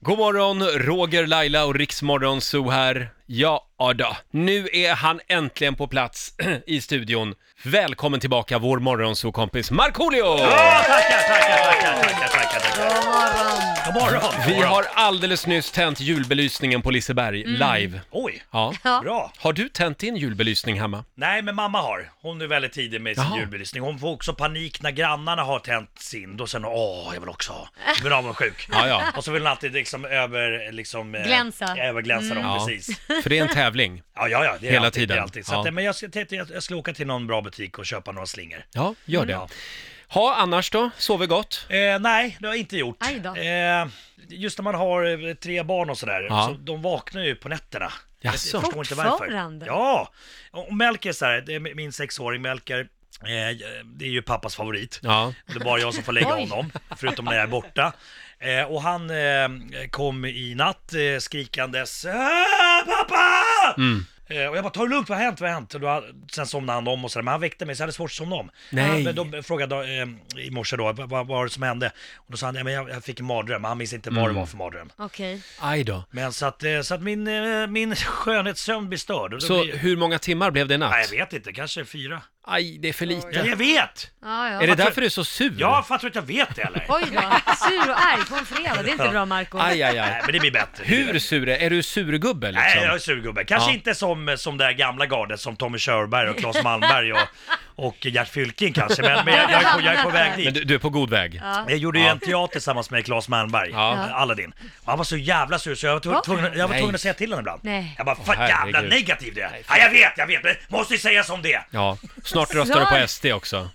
God morgon, Roger, Laila och Riksmorgon Zoo här. Ja, då. nu är han äntligen på plats i studion. Välkommen tillbaka vår morgonzoo-kompis Markoolio! Ja, tackar, tackar, tackar, tackar, tackar, tackar. God morgon! Vi har alldeles nyss tänt julbelysningen på Liseberg, Mm. live. Oj, Ja. Ja. bra. Har du tänt din julbelysning hemma? Nej, men mamma har. Hon är väldigt tidig med sin Jaha. julbelysning. Hon får också panik när grannarna har tänt sin. Då sen, åh, jag vill också ha. Då blir hon sjuk. Ja, ja. Och så vill hon alltid liksom över, liksom... eh, Glänsa. Överglänsa dem, Mm. Ja. precis. För det är en tävling. Ja, ja, ja. Det är Hela alltid, tiden. Det är alltid. Så att, eh, Ja. men jag ska, tänkte jag, jag skulle åka till någon bra butik och köpa några slingor. Ja, gör det. Ja. Ha, annars då? Sover gott? Eh, nej, det har jag inte gjort. Aj då. Eh, just när man har eh, tre barn och sådär, Ja. så de vaknar ju på nätterna. Jag Jaså? förstår inte varför. Fortfarande? Ja! Och Melker så här, det är min sexåring Melker, eh, det är ju pappas favorit. Ja. Och Det är bara jag som får lägga Oj. honom, förutom när jag är borta. Eh, och han eh, kom i natt eh, skrikandes "Ah, ”Pappa!” Mm. eh, Och jag bara ”Ta det lugnt, vad har hänt?” vad har hänt? Och då, sen somnade han om och sådär, men han väckte mig så jag hade svårt att somna om. Nej. Men då frågade jag eh, i morse då, vad, vad var det som hände? Och då sa han, "Nej, men jag, jag fick en mardröm, men han minns inte vad Mm. det var för mardröm. Okej. Aj då. Men så att, eh, så att min, eh, min skönhetssömn blir störd. Och då Så blir, hur många timmar blev det i nej, jag natt? vet inte, kanske fyra. Aj, det är för Ja, lite. jag vet! Ja, ja. Är det därför du är så sur? Ja, fattar du att jag vet det eller? Oj då, sur och arg på en fredag. Det är inte bra Marco. Aj, aj, aj. Nej, men det blir bättre. Det blir Hur sur är Är du surgubbe liksom? Nej, jag är surgubbe. Kanske Ja. inte som, som det där gamla gardet som Tommy Körberg och Claes Malmberg och, och Gert Fylking kanske, men, men jag, jag, är på, jag är på väg Men dit. du, du är på god väg? Jag gjorde ju en teater tillsammans med Claes Malmberg, eh, Ja. Aladdin. Och han var så jävla sur så jag var tv- Va? tvungen, jag var Nej. tvungen att säga till honom ibland. Nej. Jag bara, fan Åh, jävla herregud. negativ du är. Ja, jag vet, jag vet, men måste ju säga som det är. Ja, snart röstar du på SD också.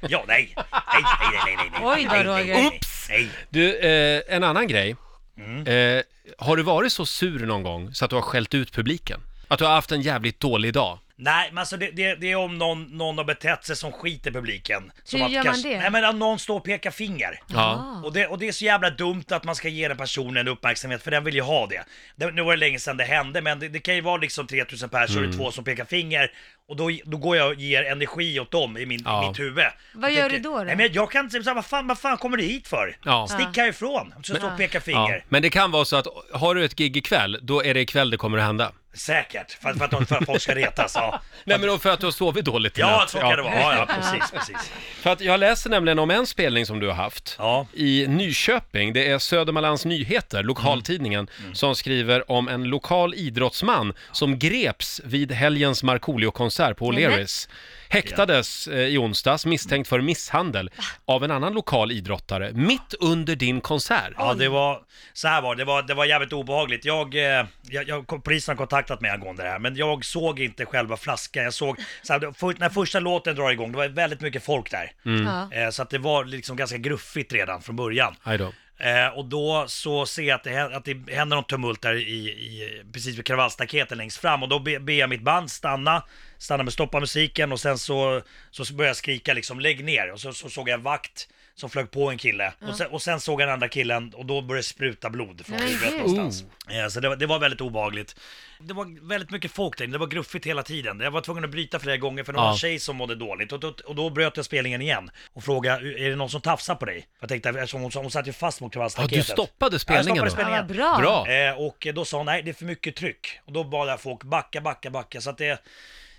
Ja, nej. Nej, nej, nej, nej, nej. nej. Oj då, Nej, nej, Roger. nej, nej. Nej. Du, eh, en annan grej. Mm. Eh, har du varit så sur någon gång så att du har skällt ut publiken? Att du har haft en jävligt dålig dag? Nej, men alltså det, det, det är om någon, någon har betett sig som skiter publiken. Som Hur gör man det? Nej men att någon står och pekar finger. Ah. Ja. Och det, och det är så jävla dumt att man ska ge den personen uppmärksamhet, för den vill ju ha det. det nu var det länge sedan det hände, men det, det kan ju vara liksom 3000 personer, mm. två som pekar finger, och då, då går jag och ger energi åt dem i, min, Ja. i mitt huvud. Vad Jag gör tänker, du då, Ah. då? Nej, men jag kan inte säga, vad fan, vad fan kommer du hit för? Ja. Stick härifrån! Så står och pekar ja. finger. Men det kan vara så att har du ett gig ikväll, då är det ikväll det kommer att hända. Säkert, för, att- för, att, de- för att folk ska retas. Ja, Nej men då för att du har sovit dåligt i ja natt. så kan det vara. Ja, ja, precis, precis. För att jag läser nämligen om en spelning som du har haft Ja. i Nyköping. Det är Södermanlands Nyheter, lokaltidningen, som skriver om en lokal idrottsman som greps vid helgens Markoolio-konsert på O'Learys. Häktades eh, i onsdags misstänkt för misshandel av en annan lokal idrottare mitt under din konsert. Ja, det var, så här var det, det var, det var jävligt obehagligt. Jag, eh, jag, jag, kom- polisen har kontaktat mig angående det här, men jag såg inte själva flaskan. Jag såg, så här, det- för, när första låten drar igång, det var väldigt mycket folk där. Ja. Eh, så att det var liksom ganska gruffigt redan från början. Aj då. Eh, och då så ser jag att det, hä- att det händer något tumult där i, i, precis vid kravallstaketen längst fram och då be- ber jag mitt band stanna, stanna med stoppa musiken och sen så, så börjar jag skrika liksom lägg ner och så, så såg jag en vakt som flög på en kille och, sen, och sen såg jag den andra killen och då började det spruta blod från Nej, huvudet gud. någonstans. Eh, så det, var- det var väldigt obehagligt. Det var väldigt mycket folk där inne, det var gruffigt hela tiden. Jag var tvungen att bryta flera gånger för det var Ja. en tjej som mådde dåligt och, då- och då bröt jag spelningen igen och frågade är det någon som tafsar på dig? Jag tänkte eftersom hon, hon satt ju fast mot kravallstaket Ja, du staketet. stoppade Ja, spelningen jag då? stoppade Ja, vad bra. Bra! Eh, och då sa hon nej, det är för mycket tryck. Och då bad jag folk backa, backa, backa. Så att det...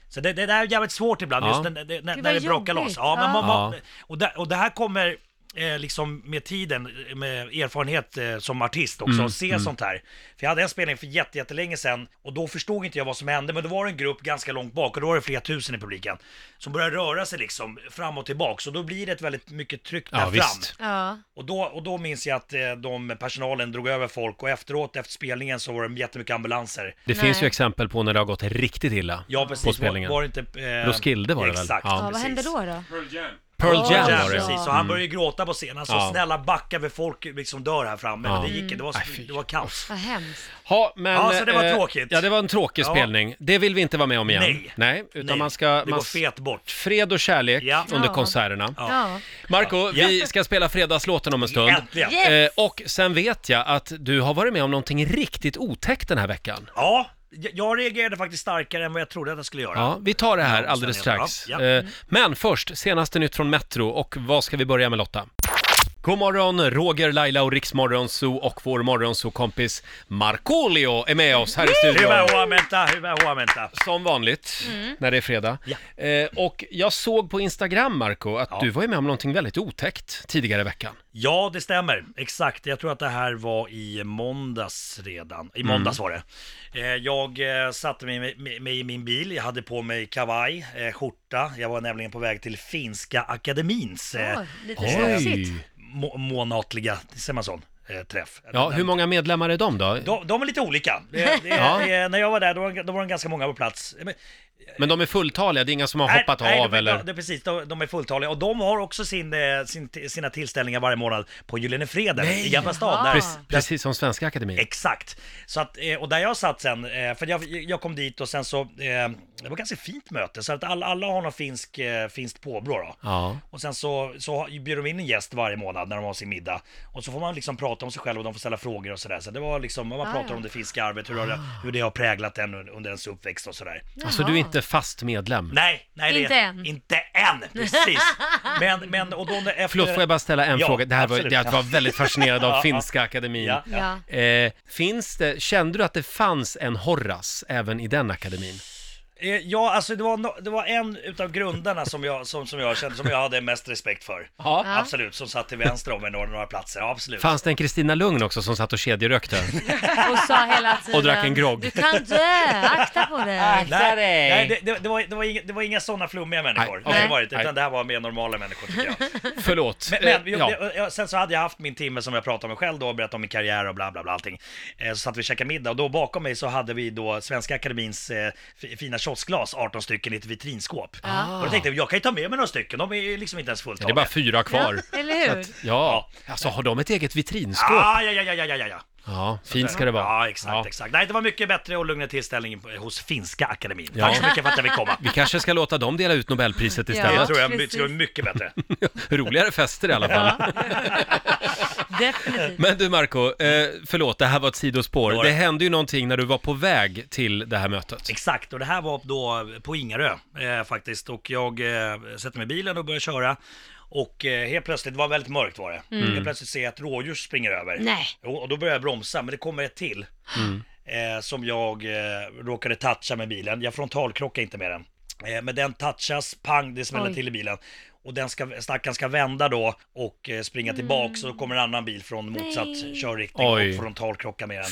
Så det, det där är jävligt svårt ibland, Ja. just när, när, när, Gud, när det vad brakar loss. jobbigt. Ja, men Ja. man, man, Ja. och, där, och det här kommer eh, liksom med tiden, eh, med erfarenhet eh, som artist också, Mm, att se sånt här. För jag hade en spelning för jätte- jättelänge sedan och då förstod inte jag vad som hände, men då var det en grupp ganska långt bak och då var det flera tusen i publiken som började röra sig liksom fram och tillbaks och då blir det ett väldigt mycket tryck där Ja, fram. visst. Ja. Och då, och då minns jag att eh, de, personalen drog över folk och efteråt, efter spelningen, så var det jättemycket ambulanser. Det Nej. finns ju exempel på när det har gått riktigt illa Ja, precis. på spelningen. Var, var det inte... Eh, Roskilde var det väl? Exakt, Ja. Ja, vad precis. hände då? då? Pearl Pearl Jam Ja, var det. Mm. precis. Och han började ju gråta på scenen. Så Ja. snälla backa för folk liksom dör här framme. Ja. Men det gick inte. Det var, Aj, fy. det var kaos. Vad hemskt. Ha, men, Ja, så det var eh, tråkigt. Ja, det var en tråkig Ja. spelning. Det vill vi inte vara med om igen. Nej. utan Nej, man ska... det Man, går fet bort. fred och kärlek Ja. under Ja. konserterna. Ja. Ja. Marco, Ja. vi ska spela fredagslåten om en stund. Äntligen! Yes. Eh, och sen vet jag att du har varit med om någonting riktigt otäckt den här veckan. Ja, jag- jag reagerade faktiskt starkare än vad jag trodde att jag skulle göra. Ja, vi tar det här Ja, alldeles sen är det strax. bra. Ja. Eh, Men först, senaste nytt från Metro och vad ska vi börja med Lotta? God morgon, Roger, Laila och Riksmorgonzoo och vår morgonzoo-kompis Markoolio är med oss här i studion. Hyvähuamenta, hyvähuamenta. Som vanligt, när det är fredag. Ja. Eh, och jag såg på Instagram, Marco, att Ja. du var ju med om någonting väldigt otäckt tidigare i veckan. Ja, det stämmer. Exakt. Jag tror att det här var i måndags redan. I måndags Mm. var det. Eh, Jag eh, satte mig, mig, mig i min bil. Jag hade på mig kavaj, eh, skjorta. Jag var nämligen på väg till Finska Akademins eh, Åh, lite stressigt. må- månatliga, säger man så, eh, träff. Ja, hur många medlemmar är de då? de, de är lite olika. Det, det, Ja. det, när jag var där, då var, då var de ganska många på plats. Eh, Men- Men de är fulltaliga, det är inga som har Nej, hoppat nej, av de, eller? De, de, precis, de, de är fulltaliga och de har också sin, eh, sin, sina tillställningar varje månad på Gyllene Freden i Gamla stan. Jaha. Där, Prec- Precis som Svenska Akademin. Exakt. Så att, eh, och där jag satt sen, eh, för jag, jag kom dit och sen så, eh, det var ganska fint möte, så att alla, alla har någon finsk, eh, finskt påbrå då. Ja. Och sen så, så bjuder de in en gäst varje månad när de har sin middag. Och så får man liksom prata om sig själv och de får ställa frågor och sådär. Så det var liksom, man pratar Ah, ja. om det finska arvet, hur, har det, hur det har präglat en un- under ens uppväxt och sådär. Alltså du är inte fast medlem. Nej, nej Inte det, än. Inte än, precis. Men, men och då efter... Förlåt, får jag bara ställa en Ja, fråga? Det här var, absolut. jag var väldigt fascinerad av Ja, ja. Finska Akademin. Ja. Ja. Eh, finns det, kände du att det fanns en Horace även i den akademin? Eh, Ja, alltså det var, no, det var en utav grundarna som jag, som, som jag kände, som jag hade mest respekt för. Ja. Absolut, som satt till vänster om mig några, några platser, ja, absolut. Fanns det en Kristina Lugn också som satt och kedjerökte? Och sa hela tiden. Och drack en grogg. Du kan dö, akta på dig. Nej, nej det, det, det, var, det, var inga, det var inga sådana flummiga människor. Nej, Det var det inte, nej. utan det här var mer normala människor tycker jag. Förlåt. Men, Eh, men jag- ja. jag- jag- sen så hade jag haft min timme som jag pratade om mig själv då och berättade om min karriär och bla bla bla allting. Eh, Så satt vi och käkade middag och då bakom mig så hade vi då Svenska Akademins eh, f- fina kioskglas, 18 stycken i ett vitrinskåp. Och då tänkte jag, jag kan ju ta med mig några stycken, de är ju liksom inte Ah. ens Det är fulltaliga. bara fyra kvar. Ja, eller hur? Så att, ja. Alltså har de ett eget vitrinskåp? Ah, ja, ja, ja, ja, ja, ja, ja. Ja, fint ska det vara. Ja, exakt, Ja. exakt. Nej, det var mycket bättre och lugnare tillställning på- hos Finska Akademin. Ja. Tack så mycket för att jag fick komma. Vi kanske ska låta dem dela ut Nobelpriset Det istället. tror jag precis. skulle vara mycket bättre. Roligare fester i alla fall. Definitivt. Men du Marco, eh, förlåt, det här var ett Det sidospår. var det. Det hände ju någonting när du var på väg till det här mötet. Exakt, och det här var då på Ingarö eh, faktiskt. Och jag eh, sätter mig i bilen och börjar köra. Och eh, helt plötsligt, det var väldigt mörkt var det. Mm. Helt plötsligt ser jag att rådjur springer över. Nej. Jo, Och då börjar jag bromsa, men det kommer ett till. Mm. Eh, som jag eh, råkade toucha med bilen. Jag frontalkrockar inte med den. Eh, men den touchas, pang, det smäller Oj. till i bilen. Och den ska, stackaren ska vända då och eh, springa tillbaks och då kommer en annan bil från motsatt Mm. Nej. körriktning Oj. och frontalkrocka med den.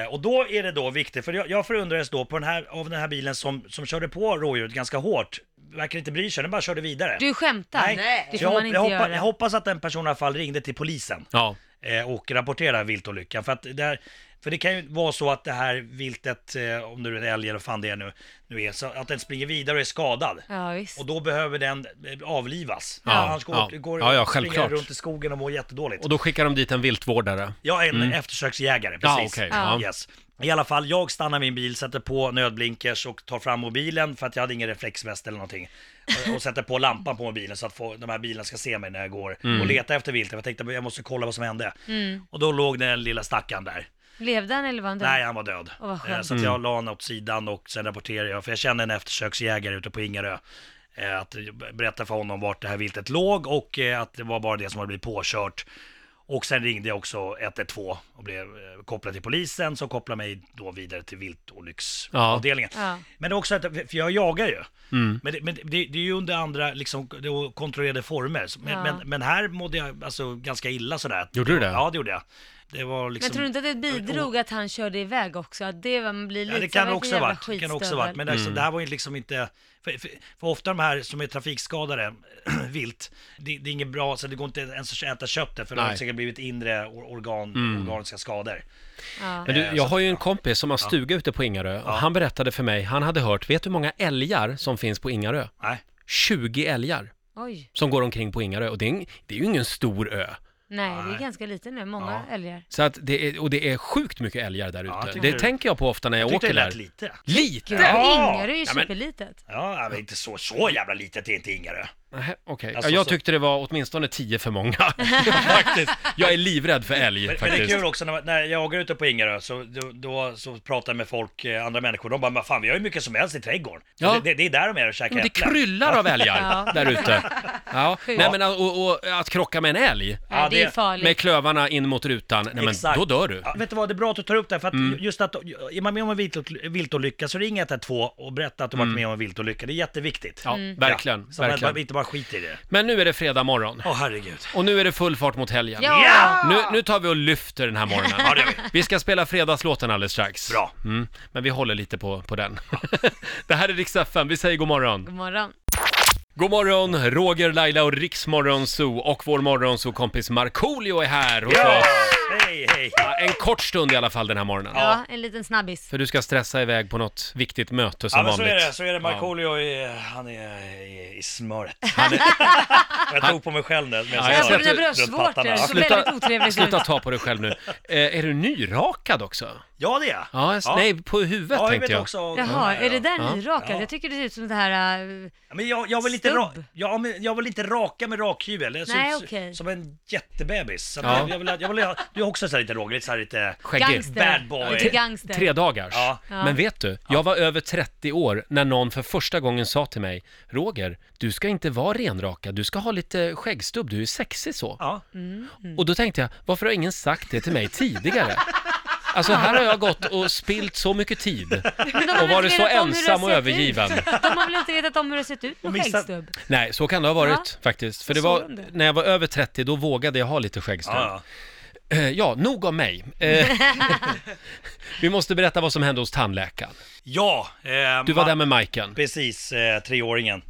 Eh, och då är det då viktigt, för jag, jag förundrades då på den här, av den här bilen som, som körde på rådjuret ganska hårt. Verkar inte bry sig, den bara körde vidare. Du skämtar? Det Så jag, får hop, man inte jag, hoppa, jag göra. hoppas att den personen i alla fall ringde till polisen Ja, eh, och rapportera viltolyckan. För, att det här, för det kan ju vara så att det här viltet, eh, om nu är en älg eller vad fan det är nu, nu är, så att den springer vidare och är skadad. Ja, visst. Och då behöver den eh, avlivas. Ja, Annars går, ja. går Ja, ja, springer den självklart. runt i skogen och mår jättedåligt. och då skickar de dit en viltvårdare. Jag är en eftersöksjägare, Mm. Ja, precis. okej, ja. Yes. I alla fall, jag stannar min bil, sätter på nödblinkers och tar fram mobilen för att jag hade ingen reflexväst eller någonting. Och, och sätter på lampan på mobilen så att få, de här bilarna ska se mig när jag går Mm. och letar efter viltet. Jag tänkte jag måste kolla vad som hände. Och då låg den lilla stackaren där. Levde han eller var han död? Nej, han var död. Åh, vad skönt. Eh, Så att jag Mm. la honom åt sidan och sen rapporterade jag, för jag känner en eftersöksjägare ute på Ingarö. eh, Att berätta för honom vart det här viltet låg och eh, att det var bara det som hade blivit påkört. Och sen ringde jag också 112 och blev eh, kopplad till polisen som kopplade mig då vidare till viltolycksavdelningen. Ja. Men det är också att, för jag jagar ju. Mm. Men, det, men det, det är ju under andra liksom, det är kontrollerade former. Så- Men, Ja. men, men här mådde jag alltså, ganska illa sådär. Gjorde du det? Ja, det gjorde jag. Det var liksom... Men tror du inte att det bidrog att han körde iväg också? Att det var, man blir lite Ja, det så här, kan "Vilken också ha jävla varit. Det kan också ha varit. skitstövel." Men Mm. alltså, det här var ju liksom inte... För, för, för ofta de här som är trafikskadade, vilt, det, det är inget bra, så det går inte ens att äta köttet för de har Nej. Mm. säkert blivit inre or- organ, organiska skador. Ja. Men du, Eh, jag så- har ju en kompis som har stuga ute på Ingarö och han berättade för mig, han hade hört, vet du hur många älgar som finns på Ingarö? Nej. 20 älgar Oj, som går omkring på Ingarö och det är, en- det är ju ingen stor ö. nej det är ganska lite nu, många Ja. älgar. Så att det är, och det är sjukt mycket älgar där ute. Ja, tycker det du? tänker jag på ofta när jag, Jag tyckte åker det där. lät lite. Lite! Gud, Ja. Ingarö är ju Ja, men- superlitet. Ja, men inte så, så jävla litet är inte Ingarö. Nähä, okej. Alltså, ja, jag så- tyckte det var åtminstone tio för många. faktiskt. Jag är livrädd för älg Men, men det är faktiskt. kul också när, när jag åker ute på Ingarö så, då, då så pratar jag med folk, eh, andra människor, de bara "Men fan vi har ju mycket som helst i trädgården. Ja. Ja. Det, det, det är där de är och käkar Men det äpplen. kryllar av älgar Ja. där ute. Ja. Nej, men, och, och, och att krocka med en älg Nej, det är det- farligt. med klövarna in mot rutan, nej, men Exakt. då dör du. Ja, vet du vad, det är bra att du tar upp det här, för att Mm. just att är man med om en viltot- viltolycka så ring 112 och berätta att du varit med om en viltolycka. Det är jätteviktigt. Mm. Mm. Ja, verkligen. Så att man verkligen. inte bara skiter i det. Men nu är det fredag morgon Åh herregud. och nu är det full fart mot helgen. Ja! Nu, nu tar vi och lyfter den här morgonen. Ja, det gör vi. Vi ska spela fredagslåten alldeles strax. Bra. Mm, men vi håller lite på, på den. det här är Rix FM, vi säger god morgon. God morgon. God morgon, Roger, Laila och Riksmorgonzoo och vår morgonzoo-kompis Markoolio är här hos Ja! oss. Hej, hej. En kort stund i alla fall den här morgonen. Ja, en liten snabbis. För du ska stressa iväg på något viktigt möte som Ja men så vanligt. är det, så är det. Markoolio är, han är i, i smöret. Han är, jag tog på mig själv nu. medan Ja, jag Jag sa ser får att mina du- bröstvårtor, det runt såg pattarna. väldigt otrevligt ut. Sluta ta på dig själv nu. Eh, är du nyrakad också? Ja det är jag. Ja, s- nej, på huvudet ja, jag tänkte vet jag. också. Jaha, är det där Ja. nyrakat? Ja. Jag tycker det ser ut som det här... äh, Ja, Men jag, jag, vill inte Stubb. ra, ja, men jag vill inte raka med rakhyvel. Jag ser Nej, ut okej. som en jättebebis. Så att Ja. jag, jag vill, jag vill, ha- du är också så här lite Roger, lite så här lite... Skäggig. Gangster. Bad boy. Lite gangster. Tre dagars. Ja. Ja. Men vet du, jag var över 30 år när någon för första gången sa till mig Roger, du ska inte vara renrakad, du ska ha lite skäggstubb, du är sexig så. Ja. Mm. Och då tänkte jag, varför har ingen sagt det till mig tidigare? Alltså här har jag gått och spilt så mycket tid Men de har och väl varit inte så vetat om hur det ensam har och sett övergiven. ut. De har väl inte vetat om hur det sett ut Och med missat- skäggstubb? Nej, så kan det ha varit faktiskt. För det så var, de det. när jag var över 30, då vågade jag ha lite skäggstubb. Ja, Ja. ja nog om mig. Eh, Vi måste berätta vad som hände hos tandläkaren. ja eh, Du var ma- där med Majken. Precis, eh, treåringen.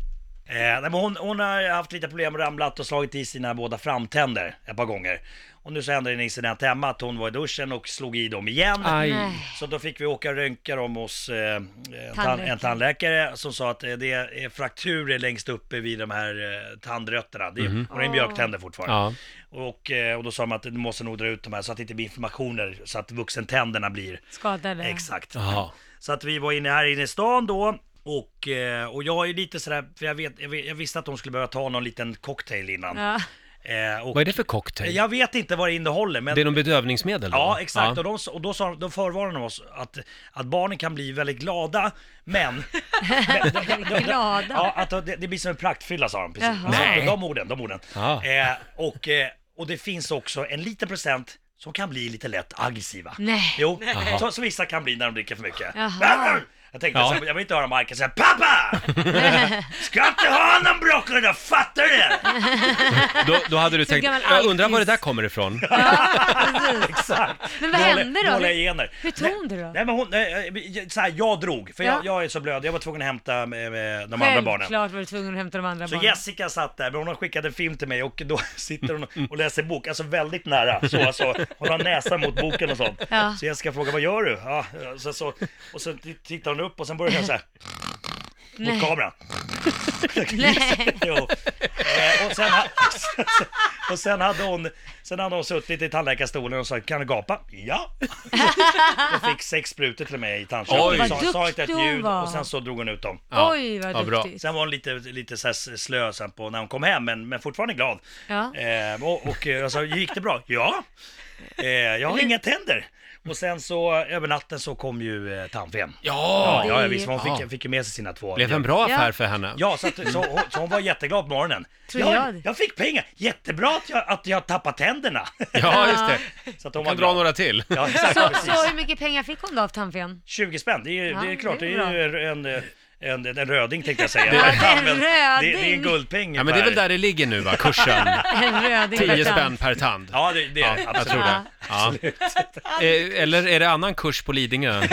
Eh, nej, men hon, hon har haft lite problem, ramlat och slagit i sina båda framtänder ett par gånger. Och nu så hände det en incident hemma att hon var i duschen och slog i dem igen. Aj. Nej. Så då fick vi åka och röntga dem hos eh, en, tan- Tandläkare. en tandläkare som sa att eh, det är frakturer längst uppe vid de här eh, tandrötterna. Det är, Hon har ju mjölktänder fortfarande. Mhm. Ja. Och, eh, och då sa de att du måste nog dra ut de här så att det inte blir inflammationer så att vuxentänderna blir Skadade. Exakt. Jaha. Så att vi var inne här inne i stan då. Och, eh, och jag är lite sådär, för jag, vet, jag, vet, jag visste att de skulle behöva ta någon liten cocktail innan. Ja. Eh, och Vad är det för cocktail? Jag vet inte vad det innehåller men... Det är någon bedövningsmedel? då? Ja, exakt. Ja. Och, de, sa- och då, sa, då förvarnade de oss att, att barnen kan bli väldigt glada, men... Glada. ja, att det, det blir som en praktfylla sa de. Precis. Jaha. Nej. Nej. De orden, de orden. Ja. Eh, och, eh, och det finns också en liten procent som kan bli lite lätt aggressiva. Nej. Jo, Jaha. så, som vissa kan bli när de dricker för mycket. Jaha. Jag tänkte, Ja. så här, jag vill inte höra Michael säga ”Pappa! Ska inte ha någon broccoli då, fattar du det?” Då, då hade du Så tänkt, gammal jag undrar var det alkis. där kommer ifrån? Exakt. Men vad Dåliga- hände då? Dåliga gener. Hur tog hon det då? Nej men hon, eh, eh, så här, jag drog, för jag, Ja. jag är så blöd, jag var tvungen att hämta eh, eh, de andra barnen. Självklart var du tvungen att hämta de andra Så barnen. Jessica satt där, men hon har skickat en film till mig och då sitter hon Mm. och läser bok, alltså väldigt nära. Så, alltså, hon har näsan mot boken och sånt. Ja. Så Jessica frågar, vad gör du? Ja, så, så, och så t- tittar hon upp och sen börjar hon så här. Mot kameran. Nej. Jo. Eh, och, sen, ha- och sen, hade hon, sen hade hon suttit i tandläkarstolen och sa kan du gapa? Ja! och fick sex sprutor till mig i Oj. tandköttet. Vad Sa, sa inte ett duktig hon ljud var. och sen så drog hon ut dem. Ja. Oj, vad Ja, bra. duktigt. Sen var hon lite, lite så här slö sen på när hon kom hem, men, men fortfarande glad. Ja. Eh, och, och eh, jag sa, gick det bra? Ja! Eh, jag har inga tänder. Och sen så över natten så kom ju eh, tandfen. Ja! Ja, ja, visst, hon Ja. fick, fick ju med sig sina två. Det blev en bra Ja. affär för henne. Ja, så, att, så, hon, så hon var jätteglad på morgonen. Tror ja, jag det. jag fick pengar! Jättebra att jag, att jag tappade tänderna! Ja, just det. Så att hon var Kan dra glad. några till. Ja, exakt, Så, precis. så hur mycket pengar fick hon då av tandfen? 20 spänn, det är ju Ja, det är klart, det det är är, ju en, en, en, en röding tänkte jag säga. Ja, det är en Men det- Det, är röding. en guldpeng Ja, men det är väl där det ligger nu va, kursen? En röding. 10 spänn per tand. Ja, det, det Ja, absolut. jag tror det. Ja. Eh, Eller är det annan kurs på Lidingö? Ja, nej,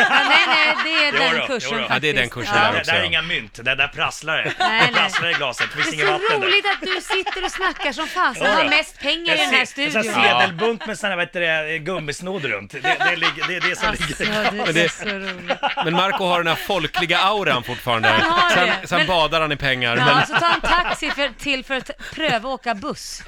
nej, det är Jo den då, kursen jo då. faktiskt. Ja, det är den kursen Ja. där Det också. där är inga mynt, det där prasslar det. nej. Det prasslar i glaset, det finns Det inget är så vatten där. Alltså, roligt att du sitter och snackar som fasen Ja, och har då. mest pengar Jag i den här ser- En studion. sån här sedelbunt med sån här, vad heter det, eh, gummisnodd runt. Det, det, ligger- det är det som Alltså, ligger. Men du det- är så rolig. Men Marco har den här folkliga auran fortfarande. Han har det. Sen, sen Men- badar han i pengar. Ja, Men, så ta en taxi för, till för att pröva att åka buss.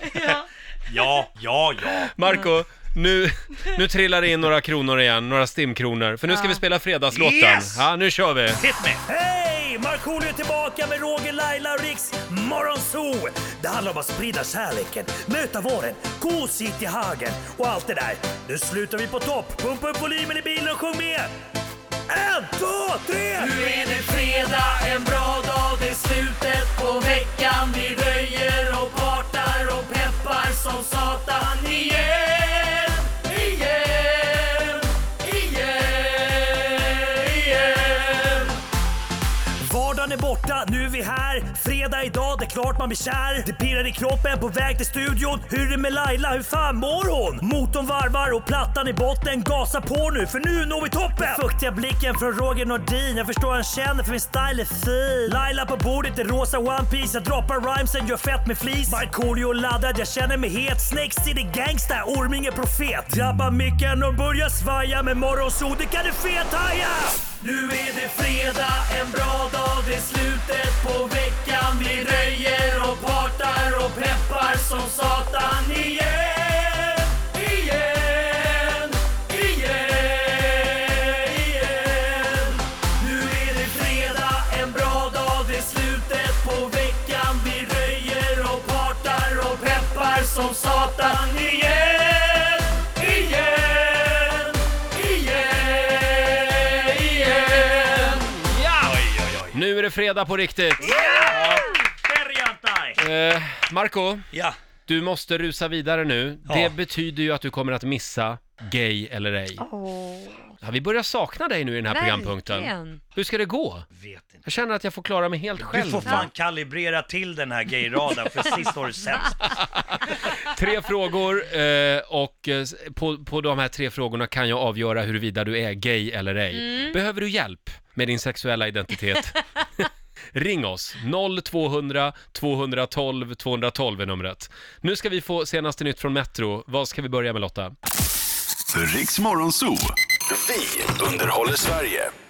Ja, ja, ja. Marco, nu, nu trillar det in några kronor igen, några stimkronor. För nu ska vi spela fredagslåten. Yes! Ja, nu kör vi. Hit me! Hey! hej! Markoolio är tillbaka med Roger, Laila och Riks Morgonzoo! Det handlar om att sprida kärleken, möta våren, gosigt i hagen och allt det där. Nu slutar vi på topp! Pumpa upp volymen i bilen och sjung med! En, två, tre! Nu är det fredag, en bra dag, det är slutet på veckan. Vi röjer och partar och peppar som satan igen. Igen, igen, igen. Vardagen är borta, nu är vi här. Fredag idag, det är klart man blir kär. Det pirrar i kroppen på väg till studion. Hur är det med Laila, hur fan mår hon? Motorn varvar och plattan i botten. Gasa på nu, för nu når vi toppen! Den fuktiga blicken från Roger Nordin. Jag förstår han känner för min style är fin. Laila på bordet i rosa One Piece Jag droppar rhymesen, gör fett med flis. Markoolio laddad, jag känner mig het. Snakes city gangsta, Orminge profet. Drabbar micken och börjar svaja. Med morgonsol, det kan du fethaja! Nu är det fredag, en bra dag, det är slutet på veckan. Vi röjer och partar och peppar som satan igen. Igen, igen, igen. Nu är det fredag, en bra dag, det är slutet på veckan. Vi röjer och partar och peppar som satan igen. Igen, igen, igen. Nu är det fredag på riktigt! Eh, Marco, Ja. du måste rusa vidare nu. Ja. Det betyder ju att du kommer att missa Gay eller ej. Ja, vi börjar sakna dig nu i den här programpunkten. Verkligen. Hur ska det gå? Vet inte. Jag känner att jag får klara mig helt själv. Du får fan kalibrera till den här gayraden för sist var du sämst. Tre frågor eh, och eh, s- på, på de här tre frågorna kan jag avgöra huruvida du är gay eller ej. Behöver du hjälp med din sexuella identitet? Ring oss, 0200 212 212 är numret. Nu ska vi få senaste nytt från Metro. Vad ska vi börja med Lotta? Riks Morgonzoo. Vi underhåller Sverige.